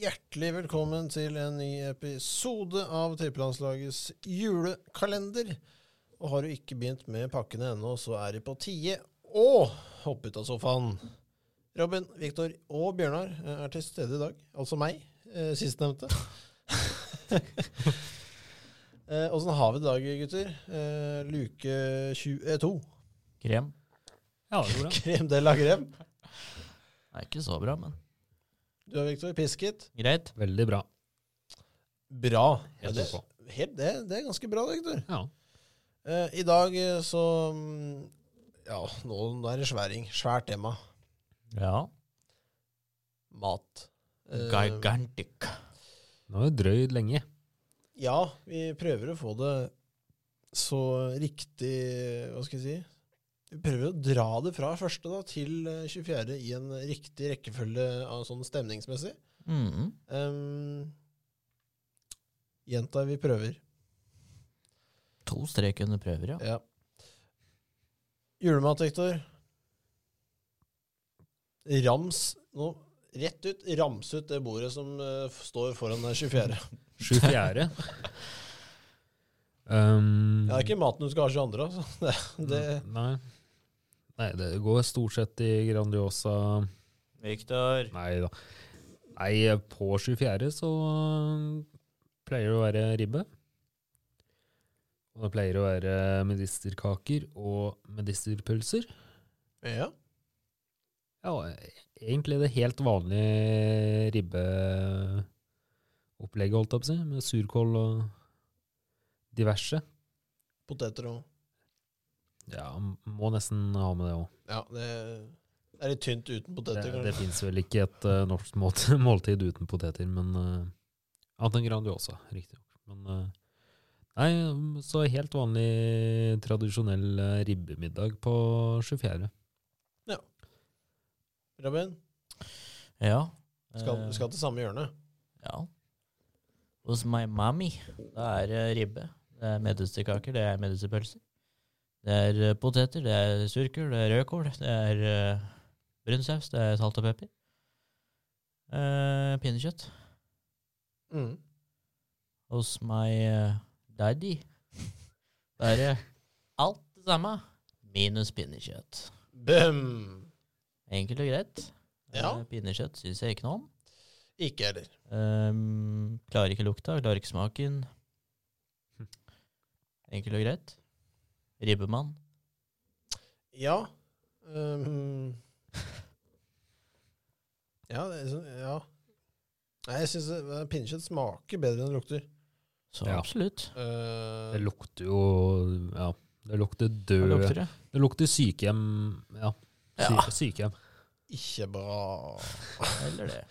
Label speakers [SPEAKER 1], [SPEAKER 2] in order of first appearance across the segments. [SPEAKER 1] Hjertelig velkommen til en ny episode av Tippelandslagets julekalender. Og har du ikke begynt med pakkene ennå, så er det på tide å hoppe ut av sofaen. Robin, Viktor og Bjørnar eh, er til stede i dag. Altså meg, eh, sistnevnte. Eh, Åssen har vi det i dag, gutter? Eh, Luke 22.
[SPEAKER 2] Krem?
[SPEAKER 3] Ja, det går bra.
[SPEAKER 1] Krem de la krem.
[SPEAKER 2] Nei, ikke så bra, men
[SPEAKER 1] Du er Viktor. Pisket.
[SPEAKER 2] greit.
[SPEAKER 3] Veldig bra.
[SPEAKER 1] Bra. Ja,
[SPEAKER 3] Helt
[SPEAKER 1] det,
[SPEAKER 3] ok.
[SPEAKER 1] helt, det, det er ganske bra, Viktor.
[SPEAKER 3] Ja.
[SPEAKER 1] Eh, I dag eh, så mm, Ja, nå, nå er det sværing. Svært tema.
[SPEAKER 2] Ja.
[SPEAKER 1] Mat. Eh,
[SPEAKER 2] Gigantic.
[SPEAKER 3] Nå er det drøyd lenge.
[SPEAKER 1] ja, vi prøver å få det så riktig Hva skal jeg si? Vi prøver å dra det fra første da, til eh, 24. i en riktig rekkefølge av sånn stemningsmessig.
[SPEAKER 2] Mm.
[SPEAKER 1] Um, Gjenta vi prøver.
[SPEAKER 2] To strek under prøver, ja.
[SPEAKER 1] Ja. Julemat, Hector. Rams nå, Rett ut, rams ut det bordet som eh, f- står foran den 24.
[SPEAKER 3] Sju fjerde. um,
[SPEAKER 1] Ja, det er ikke maten du skal ha 22., altså. Det, det,
[SPEAKER 3] Nei. Nei, det går stort sett i Grandiosa
[SPEAKER 2] Viktor.
[SPEAKER 3] Nei da. Nei, på 24. så øh, pleier det å være ribbe. Og det pleier å være medisterkaker og medisterpølser.
[SPEAKER 1] Mm. ja.
[SPEAKER 3] Ja, egentlig det helt vanlige ribbeopplegget, holdt jeg på å si, med surkål og diverse.
[SPEAKER 1] Poteter og
[SPEAKER 3] Ja, må nesten ha med det òg.
[SPEAKER 1] Ja, det, det er litt tynt uten
[SPEAKER 3] Det,
[SPEAKER 1] poteter,
[SPEAKER 3] det
[SPEAKER 1] kanskje.
[SPEAKER 3] fins vel ikke et eh, norsk målt, måltid uten poteter, men uh, annet enn Grandiosa, riktignok. Men eh, Nei, mm, så helt vanlig tradisjonell eh, ribbemiddag på 24.
[SPEAKER 1] Robin,
[SPEAKER 2] Ja.
[SPEAKER 1] skal,
[SPEAKER 2] Eh,
[SPEAKER 1] skal til samme hjørne.
[SPEAKER 2] Ja. Hos my mommy, da er det ribbe. Det er medisterkaker, det er medisterpølser. Det er eh, poteter, det er surkål, det er rødkål, det er eh, brun saus, det er salt og pepper. Eh, pinnekjøtt.
[SPEAKER 1] Mm.
[SPEAKER 2] Hos my eh, daddy, da er det alt det samme, minus pinnekjøtt.
[SPEAKER 1] Bøm!
[SPEAKER 2] Enkelt og greit.
[SPEAKER 1] Ja.
[SPEAKER 2] Eh, Pinnekjøtt syns jeg ikke noe om.
[SPEAKER 1] Ikke heller.
[SPEAKER 2] Ehm, klarer ikke lukta, klarer ikke smaken. Enkelt og greit. Ribbemann.
[SPEAKER 1] Ja. Um, ja, det, er sånn- ja. Nei, jeg syns pinnekjøtt smaker bedre enn det lukter.
[SPEAKER 2] Så
[SPEAKER 3] Ja.
[SPEAKER 2] absolutt.
[SPEAKER 1] Eh,
[SPEAKER 3] Det lukter jo Ja, det lukter
[SPEAKER 2] Hva
[SPEAKER 3] død
[SPEAKER 2] lukter det?
[SPEAKER 3] Det lukter sykehjem. Ja, sy
[SPEAKER 2] Ja.
[SPEAKER 3] sykehjem.
[SPEAKER 1] ikke bra.
[SPEAKER 2] Eller det.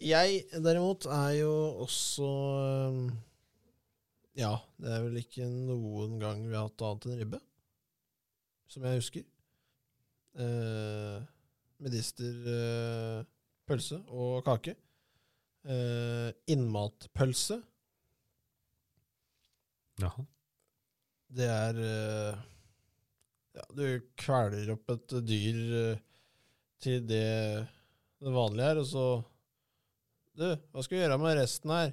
[SPEAKER 1] Jeg derimot er jo også um, Ja, det er vel ikke noen gang vi har hatt annet enn ribbe, som jeg husker. Eh, medister, eh, pølse og kake. Eh, innmatpølse.
[SPEAKER 3] Jaha.
[SPEAKER 1] Det er eh, ja, Du kveler opp et dyr eh, til det, det vanlige er, og så Du, hva skal vi gjøre med resten her?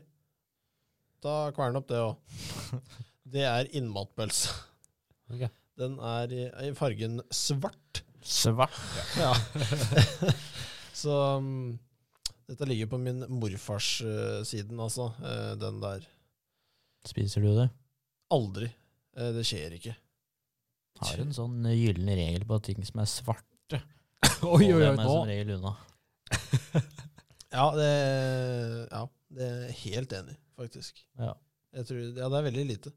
[SPEAKER 1] Da kveler den opp det òg. Det er innmatpølse.
[SPEAKER 3] Ok.
[SPEAKER 1] Den er i, i fargen svart.
[SPEAKER 2] Svart.
[SPEAKER 1] Ja. så mm, dette ligger på min morfars eh, siden, altså. eh, den der.
[SPEAKER 2] Spiser du det?
[SPEAKER 1] Aldri. Eh, det skjer ikke.
[SPEAKER 2] Har en sånn gyllen regel på at ting som er svart, holder
[SPEAKER 3] Oi, oi,
[SPEAKER 2] jeg
[SPEAKER 3] oi,
[SPEAKER 2] meg
[SPEAKER 3] nå!
[SPEAKER 2] som regel unna.
[SPEAKER 1] Ja, det, ja, det er jeg helt enig, i, faktisk.
[SPEAKER 2] Ja.
[SPEAKER 1] Jeg tror, ja, det er veldig lite.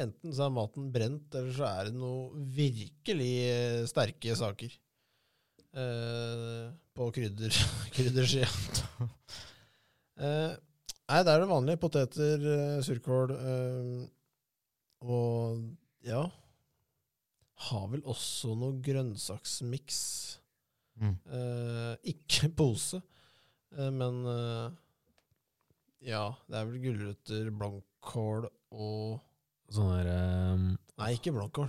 [SPEAKER 1] Enten så er maten brent, eller så er det noe virkelig eh, sterke saker eh, på krydder, kryddersida. eh, nei, det er det vanlige. Poteter, eh, surkål eh, og ja Har vel også noe grønnsaksmiks.
[SPEAKER 2] Mm.
[SPEAKER 1] Eh, ikke pose, eh, men eh, ja, det er vel gulrøtter, blomkål og
[SPEAKER 3] Sånn der ehm,
[SPEAKER 1] Nei, ikke blomkål.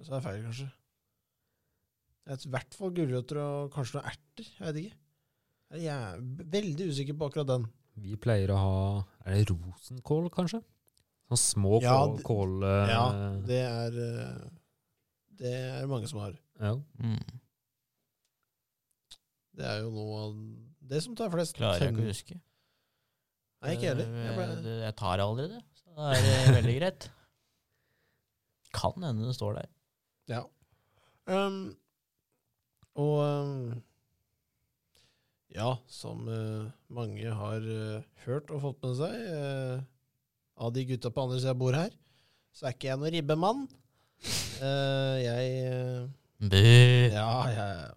[SPEAKER 1] Så er det feil, kanskje. Jeg vet I hvert fall gulrøtter og kanskje noen erter. Jeg vet ikke. Er Jeg er b- veldig usikker på akkurat den.
[SPEAKER 3] Vi pleier å ha Er det rosenkål, kanskje? Sånne små
[SPEAKER 1] Ja,
[SPEAKER 3] kål,
[SPEAKER 1] det-
[SPEAKER 3] kål eh,
[SPEAKER 1] Ja, det er eh, Det er mange som har.
[SPEAKER 3] ja.
[SPEAKER 2] Mm.
[SPEAKER 1] Det er jo noe av det som tar flest.
[SPEAKER 2] Klarer jeg ikke
[SPEAKER 1] tenn-
[SPEAKER 2] å huske.
[SPEAKER 1] Nei, ikke heller. Jeg
[SPEAKER 2] Eh,
[SPEAKER 1] ble,
[SPEAKER 2] det- Jeg tar aldri det, så da er det veldig greit. Kan hende det står der.
[SPEAKER 1] ja. Ehm, og ehm, ja, som eh, mange har eh, hørt og fått med seg eh, av de gutta på andre sida av bordet her, så er ikke jeg noen ribbemann. Eh, jeg eh,
[SPEAKER 2] Bø.
[SPEAKER 1] Ja, ja, ja.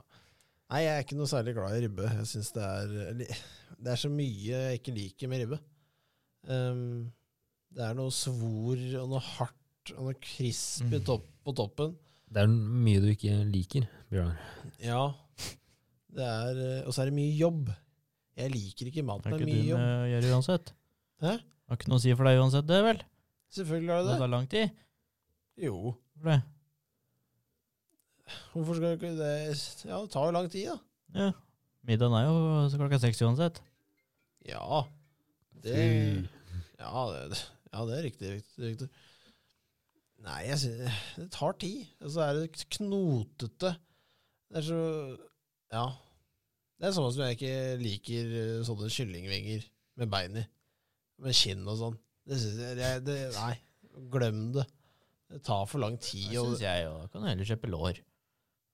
[SPEAKER 1] Nei, jeg er ikke noe særlig glad i ribbe. Jeg synes det er eller, Det er så mye jeg ikke liker med ribbe. Ehm, det er noe svor og noe hardt og noe krisp i
[SPEAKER 2] Mm.
[SPEAKER 1] topp, på toppen.
[SPEAKER 3] Det er mye du ikke liker, Bjørnar.
[SPEAKER 1] Ja. Det er eh, Og så er det mye jobb. Jeg liker ikke mat
[SPEAKER 2] Har
[SPEAKER 1] med
[SPEAKER 2] ikke eh,
[SPEAKER 1] mye
[SPEAKER 2] du
[SPEAKER 1] jobb.
[SPEAKER 2] med å gjøre uansett?
[SPEAKER 1] Hæ?
[SPEAKER 2] Har ikke noe å si for deg uansett, det vel?
[SPEAKER 1] Selvfølgelig har
[SPEAKER 2] Det
[SPEAKER 1] jeg det.
[SPEAKER 2] tar lang tid.
[SPEAKER 1] Jo.
[SPEAKER 2] for det.
[SPEAKER 1] Hvorfor skal du ikke det Ja, det tar jo lang tid, da.
[SPEAKER 2] Ja. Middagen er jo så klokka seks uansett.
[SPEAKER 1] Ja. Det Ja, det, det- ja, det er riktig, riktig, riktig. Nei, jeg synes, det tar tid. Og så er det knotete. Det er så Ja. Det er sånn som jeg ikke liker eh, sånne kyllingvinger med bein i. Med skinn og sånn. Det synes jeg jeg- det, Nei, glem det. Det tar for lang
[SPEAKER 2] Det
[SPEAKER 1] tid.
[SPEAKER 2] syns
[SPEAKER 1] Og,
[SPEAKER 2] jeg jo. Da Kan du heller kjøpe lår.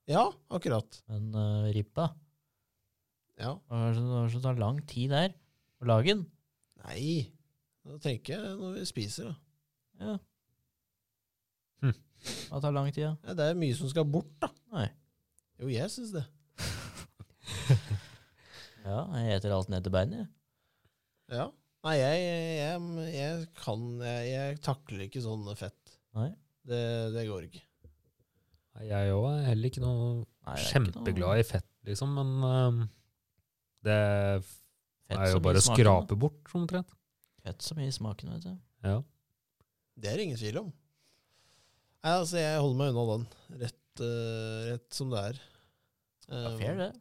[SPEAKER 1] ja, akkurat.
[SPEAKER 2] Men uh, ribba
[SPEAKER 1] Ja.
[SPEAKER 2] Hva er det som- hva er det som tar lang tid der? Å lage den?
[SPEAKER 1] Nei. Nå tenker jeg når vi spiser, da.
[SPEAKER 2] Ja.
[SPEAKER 3] Hm.
[SPEAKER 2] Hva tar lang tid, da?
[SPEAKER 1] Ja, det er mye som skal bort, da.
[SPEAKER 2] Nei.
[SPEAKER 1] Jo, jeg syns det.
[SPEAKER 2] Ja, jeg eter alt ned til beinet. jeg.
[SPEAKER 1] Ja. Nei, jeg, jeg, jeg kan jeg, jeg takler ikke sånn fett.
[SPEAKER 2] Nei.
[SPEAKER 1] Det, det går ikke.
[SPEAKER 3] Nei, Jeg òg er heller ikke noe
[SPEAKER 2] Nei, det er ikke noe
[SPEAKER 3] kjempeglad i fett, liksom, men eh, det
[SPEAKER 2] fett
[SPEAKER 3] er
[SPEAKER 2] så
[SPEAKER 3] jo
[SPEAKER 2] mye
[SPEAKER 3] bare å
[SPEAKER 2] i smaken, da.
[SPEAKER 3] skrape bort, omtrent.
[SPEAKER 2] Fett så mye i smaken, vet du.
[SPEAKER 3] Ja.
[SPEAKER 1] Det er det ingen tvil om. Nei, altså, jeg holder meg unna den, rett, eh, rett som det er.
[SPEAKER 2] Ja,
[SPEAKER 1] Eh,
[SPEAKER 2] fair, det.
[SPEAKER 1] ja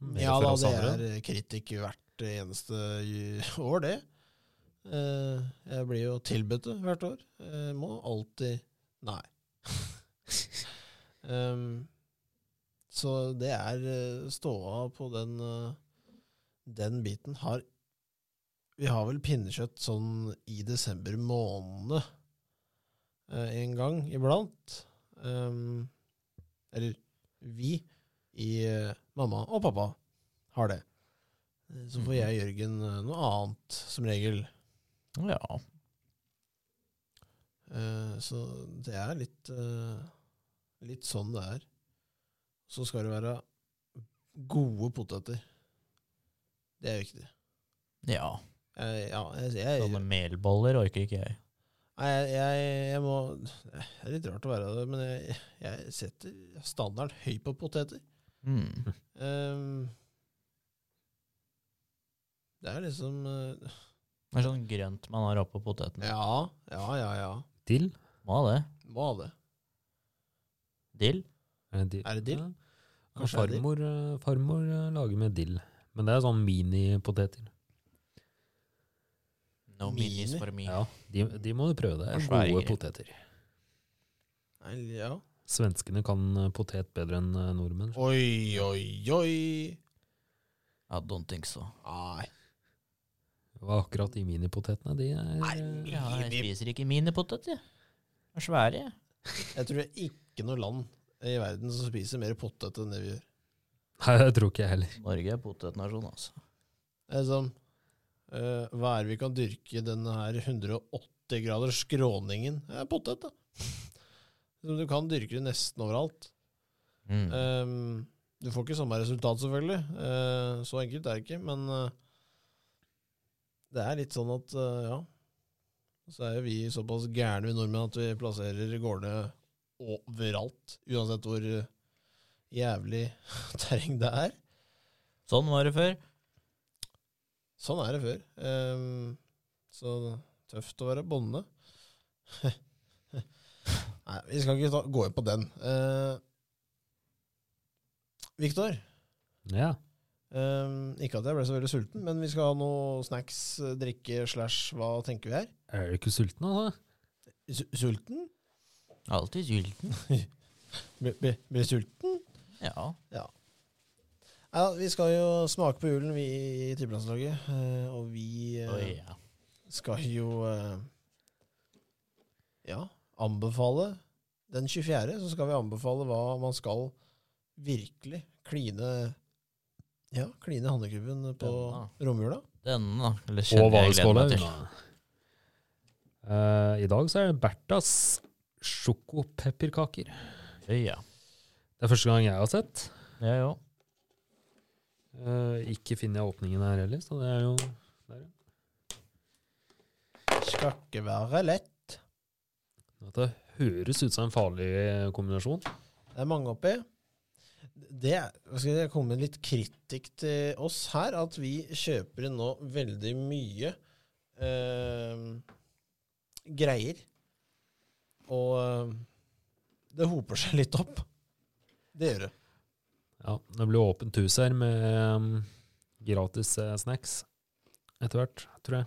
[SPEAKER 3] Mm. For
[SPEAKER 1] da,
[SPEAKER 3] oss
[SPEAKER 1] det
[SPEAKER 3] andre.
[SPEAKER 1] er eh, kritikk hvert eh, eneste ju- år, det. Eh, jeg blir jo tilbudt det hvert år. Jeg må alltid Nei. Ehm, så det er eh, ståa på den eh, Den biten har Vi har vel pinnekjøtt sånn i desember måned eh, en gang iblant. Ehm, eller vi i eh, mamma og pappa har det. Eh, Så får jeg og Jørgen eh, noe annet, som regel.
[SPEAKER 2] Ja.
[SPEAKER 1] Eh, Så det er litt eh, Litt sånn det er. Så skal det være gode poteter. Det er viktig.
[SPEAKER 2] ja.
[SPEAKER 1] Jeg, ja, jeg, jeg,
[SPEAKER 2] Sånne melboller orker ikke jeg.
[SPEAKER 1] nei, jeg, jeg, jeg må Det er litt rart å være det, men jeg, jeg setter standarden høy på poteter.
[SPEAKER 2] Mm.
[SPEAKER 1] Ehm, det er liksom eh,
[SPEAKER 2] Det er sånn grønt man har oppå poteten.
[SPEAKER 1] Ja, ja, ja. ja.
[SPEAKER 3] Dill?
[SPEAKER 2] Må ha det.
[SPEAKER 1] Må ha det.
[SPEAKER 2] Dill.
[SPEAKER 3] Er det Eh, dill?
[SPEAKER 1] Er det dill?
[SPEAKER 3] Ja. Ja,
[SPEAKER 1] Kanskje det er dill?
[SPEAKER 3] farmor, eh, farmor eh, lager med dill, men det er sånn minipoteter.
[SPEAKER 2] No
[SPEAKER 1] Mini.
[SPEAKER 2] minis for me.
[SPEAKER 3] Ja, de, de må du prøve. Det
[SPEAKER 2] Det
[SPEAKER 3] er
[SPEAKER 2] er svære
[SPEAKER 3] gode
[SPEAKER 2] greier.
[SPEAKER 3] poteter.
[SPEAKER 1] Nei, ja.
[SPEAKER 3] Svenskene kan eh, potet bedre enn eh, nordmenn.
[SPEAKER 1] Oi, oi, oi.
[SPEAKER 2] I don't think so.
[SPEAKER 1] Nei.
[SPEAKER 3] Og akkurat de minipotetene, de er eh,
[SPEAKER 2] Ja, jeg spiser ikke minipotet, jeg. Det er svære, jeg.
[SPEAKER 1] Jeg tror det er ikke noe land i verden som spiser mer potet enn det vi gjør.
[SPEAKER 3] Nei, det tror ikke jeg heller.
[SPEAKER 2] Norge er potetnasjon, altså.
[SPEAKER 1] Det er sånn, eh, hva er det vi kan dyrke i denne her 180 grader skråningen? Det er potet, da. Som Du kan dyrke det nesten overalt.
[SPEAKER 2] Mm.
[SPEAKER 1] Ehm, du får ikke samme resultat, selvfølgelig. Eh, så enkelt er det ikke, men eh, det er litt sånn at, eh, ja Så er jo vi såpass gærne, vi nordmenn, at vi plasserer gårdene overalt. Uansett hvor eh, jævlig terreng det er.
[SPEAKER 2] Sånn var det før.
[SPEAKER 1] Sånn er det før. Ehm, så tøft å være bonde. Nei, vi skal ikke ta, gå Ehm, inn på den. Uh, Viktor,
[SPEAKER 3] Ja.
[SPEAKER 1] Ehm, ikke at jeg ble så veldig sulten, men vi skal ha noe snacks, eh, drikke slash hva tenker vi her?
[SPEAKER 3] Er du ikke sulten, altså?
[SPEAKER 1] Su- Sulten?
[SPEAKER 2] Alltid sulten.
[SPEAKER 1] Bli- bli- Blir sulten?
[SPEAKER 2] Ja.
[SPEAKER 1] Ja, vi skal jo smake på julen, vi i tippelandslaget. eh, og vi eh,
[SPEAKER 2] Oi, ja.
[SPEAKER 1] skal jo eh, ja, anbefale Den 24. så skal vi anbefale hva man skal virkelig kline ja, kline handekrybben på
[SPEAKER 2] Denne.
[SPEAKER 1] romjula.
[SPEAKER 2] Denne, da. Eller
[SPEAKER 3] Og
[SPEAKER 2] kjenner jeg gleder
[SPEAKER 3] valgskåla.
[SPEAKER 2] meg til.
[SPEAKER 3] Eh, I dag så er det Berthas sjokopepperkaker.
[SPEAKER 2] Oi, ja.
[SPEAKER 3] Det er første gang jeg har sett.
[SPEAKER 2] Ja, jo.
[SPEAKER 3] Eh, ikke finner jeg åpningen her heller, så det er jo
[SPEAKER 1] Skal ikke være lett.
[SPEAKER 3] Dette høres ut som en farlig kombinasjon.
[SPEAKER 1] Det er mange oppi. Det er- hva skal jeg komme med litt kritikk til oss her, at vi kjøper inn nå veldig mye eh, greier. Og eh, det hoper seg litt opp. Det gjør det.
[SPEAKER 3] Ja, Det blir åpent hus her med eh, gratis eh, snacks etter hvert, tror jeg.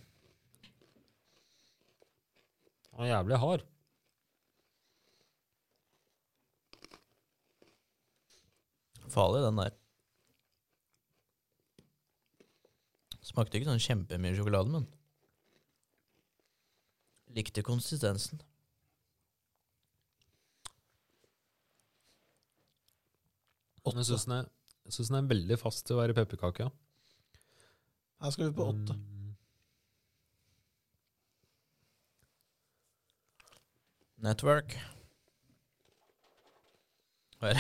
[SPEAKER 3] Og jævlig hard.
[SPEAKER 2] Farlig, den der. Smakte ikke sånn kjempemye sjokolade, men Likte konsistensen.
[SPEAKER 3] Men Jeg syns den, er- jeg synes den er veldig fast til å være pepperkake. ja.
[SPEAKER 1] Her skal vi på åtte.
[SPEAKER 3] Mm,
[SPEAKER 2] Network.
[SPEAKER 3] Nei,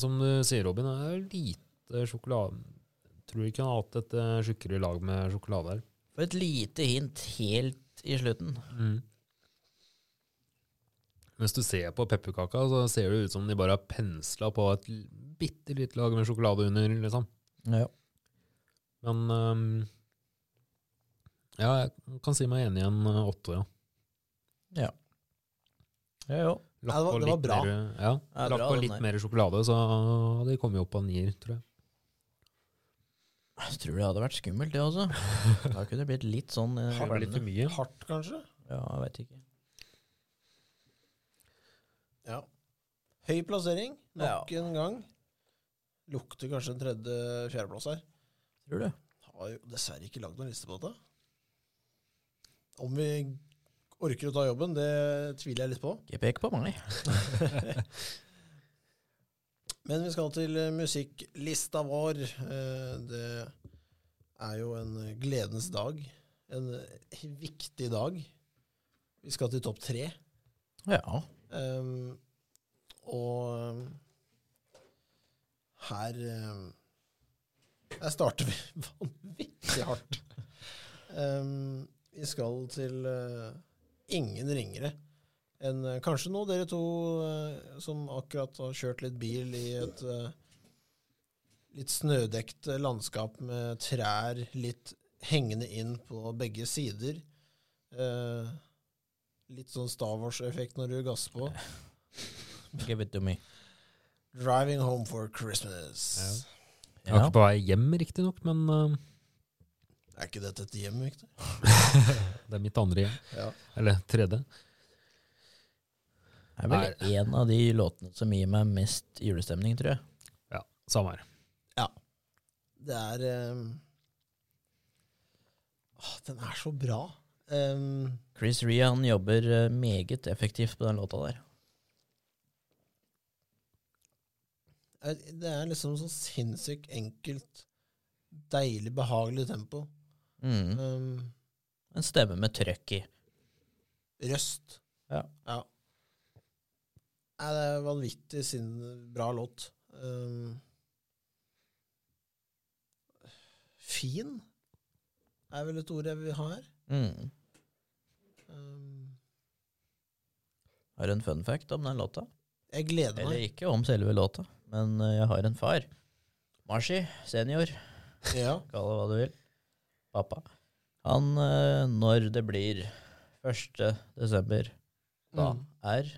[SPEAKER 3] som du sier, Robin, det er lite sjokolade. Tror ikke han har hatt et eh, tjukkere lag med sjokolade her.
[SPEAKER 2] For et lite hint helt i slutten.
[SPEAKER 1] Mm.
[SPEAKER 3] Hvis du ser på pepperkaka, så ser det ut som de bare har pensla på et l- bitte lite lag med sjokolade under, liksom.
[SPEAKER 2] Ja.
[SPEAKER 3] Men øhm, ja, jeg kan si meg enig i en øh, åtte, ja.
[SPEAKER 2] Ja, jo.
[SPEAKER 1] Ja, det var- det
[SPEAKER 3] på
[SPEAKER 1] var
[SPEAKER 3] litt
[SPEAKER 1] bra.
[SPEAKER 3] Mer, ja,
[SPEAKER 2] Ja,
[SPEAKER 3] lagt
[SPEAKER 2] bra,
[SPEAKER 3] på
[SPEAKER 2] den
[SPEAKER 3] litt
[SPEAKER 2] der.
[SPEAKER 3] mer sjokolade, så hadde de kommet opp på en nier, tror jeg.
[SPEAKER 2] Jeg tror det hadde vært skummelt, det også. Da kunne det blitt litt sånn eh,
[SPEAKER 3] Det var litt for mye.
[SPEAKER 1] Mm. Hardt, kanskje?
[SPEAKER 2] Ja, jeg veit ikke.
[SPEAKER 1] Ja. Høy plassering nok en gang. Lukter kanskje en tredje-fjerdeplass her.
[SPEAKER 2] Tror du?
[SPEAKER 1] Har jo dessverre ikke lagd noen liste på dette. Om vi orker å ta jobben, det tviler jeg litt på.
[SPEAKER 2] Ikke pek på meg.
[SPEAKER 1] Men vi skal til eh, musikklista vår. Eh, Det er jo en gledens dag. En eh, viktig dag. Vi skal til topp tre.
[SPEAKER 2] Ja.
[SPEAKER 1] Um, og um, her um, Her starter vi vanvittig hardt. Um, vi skal til uh, ingen ringere enn uh, kanskje nå dere to uh, som akkurat har kjørt litt bil i et uh, litt snødekt uh, landskap med trær litt hengende inn på begge sider. Uh, litt sånn Star Wars-effekt når du gasser på.
[SPEAKER 2] Give it to me.
[SPEAKER 1] Driving home for Christmas.
[SPEAKER 3] Jeg var ikke på vei hjem, riktignok, men eh, øhm,
[SPEAKER 1] Er ikke dette et hjem, Victor?
[SPEAKER 3] det er mitt andre hjem.
[SPEAKER 1] Ja.
[SPEAKER 3] Eller tredje.
[SPEAKER 2] Det er vel en av de låtene som gir meg mest julestemning, tror jeg.
[SPEAKER 3] Ja, samme her.
[SPEAKER 1] Det er ehm, Åh, Den er så bra. Ehm,
[SPEAKER 2] Chris Rea han jobber eh, meget effektivt på den låta der.
[SPEAKER 1] er- det er liksom så sinnssykt enkelt, deilig, behagelig tempo.
[SPEAKER 2] Mm.
[SPEAKER 1] Ehm,
[SPEAKER 2] En stemme med trøkk i.
[SPEAKER 1] røst.
[SPEAKER 2] Ja.
[SPEAKER 1] Nei, det er vanvittig sin bra låt. Ehm, fin er vel et ord jeg vil ha her.
[SPEAKER 2] Mm.
[SPEAKER 1] Ehm,
[SPEAKER 2] Har en fun fact om den låta.
[SPEAKER 1] jeg gleder meg.
[SPEAKER 2] Eller ikke om selve låta, men eh, jeg har en far. Mashi senior,
[SPEAKER 1] Ja.
[SPEAKER 2] kall det hva du vil. Pappa. Han, eh, når det blir 1. desember, da
[SPEAKER 1] Mm.
[SPEAKER 2] er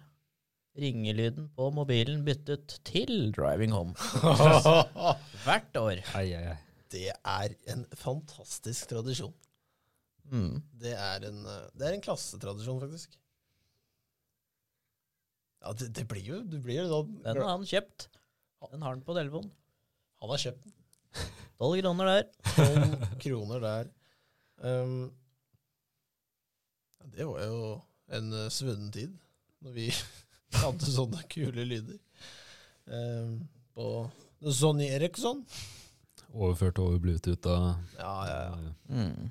[SPEAKER 2] ringelyden på mobilen byttet til Driving Home. hvert år.
[SPEAKER 3] Ai, ai, ai.
[SPEAKER 1] Det er en fantastisk tradisjon.
[SPEAKER 2] Mm.
[SPEAKER 1] Det er en, eh, det er en klassetradisjon, faktisk. Ja, det, det blir jo Du blir jo da
[SPEAKER 2] Den har han kjøpt. Den har han på telefonen.
[SPEAKER 1] Han har kjøpt
[SPEAKER 2] Tolv kroner der.
[SPEAKER 1] tolv kroner der. Um, ja, det var jo en eh, svunnen tid, når vi hadde sånne kule lyder. Um, på Sonny Eriksson.
[SPEAKER 3] Overført over Bluetooth da.
[SPEAKER 1] Ja, ja, ja.
[SPEAKER 2] Mm.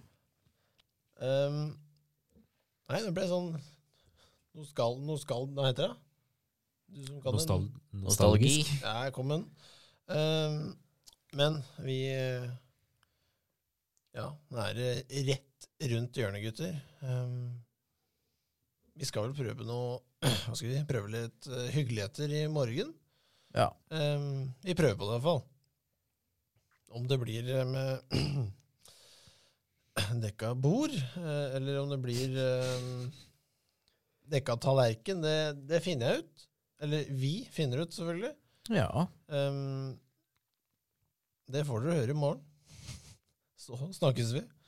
[SPEAKER 1] Um, nei, det ble sånn Noe skal, noe skal Hva heter det? Du som kan det.
[SPEAKER 3] Nostal
[SPEAKER 2] Nostalgi.
[SPEAKER 3] nostalgisk.
[SPEAKER 1] Ja, jeg kom med den. Um, men vi eh, Ja, nå er det rett rundt hjørnet, gutter. Um, vi skal vel prøve noe Hva skal vi prøve litt eh, hyggeligheter i morgen?
[SPEAKER 2] Ja.
[SPEAKER 1] Um, vi prøver på det, i hvert fall. Om det blir eh, med dekka bord, eh, eller om det blir eh, dekka tallerken, det, det finner jeg ut. Eller vi finner ut, selvfølgelig. Ehm,
[SPEAKER 2] ja.
[SPEAKER 1] Um, det får dere høre i morgen. Så snakkes vi.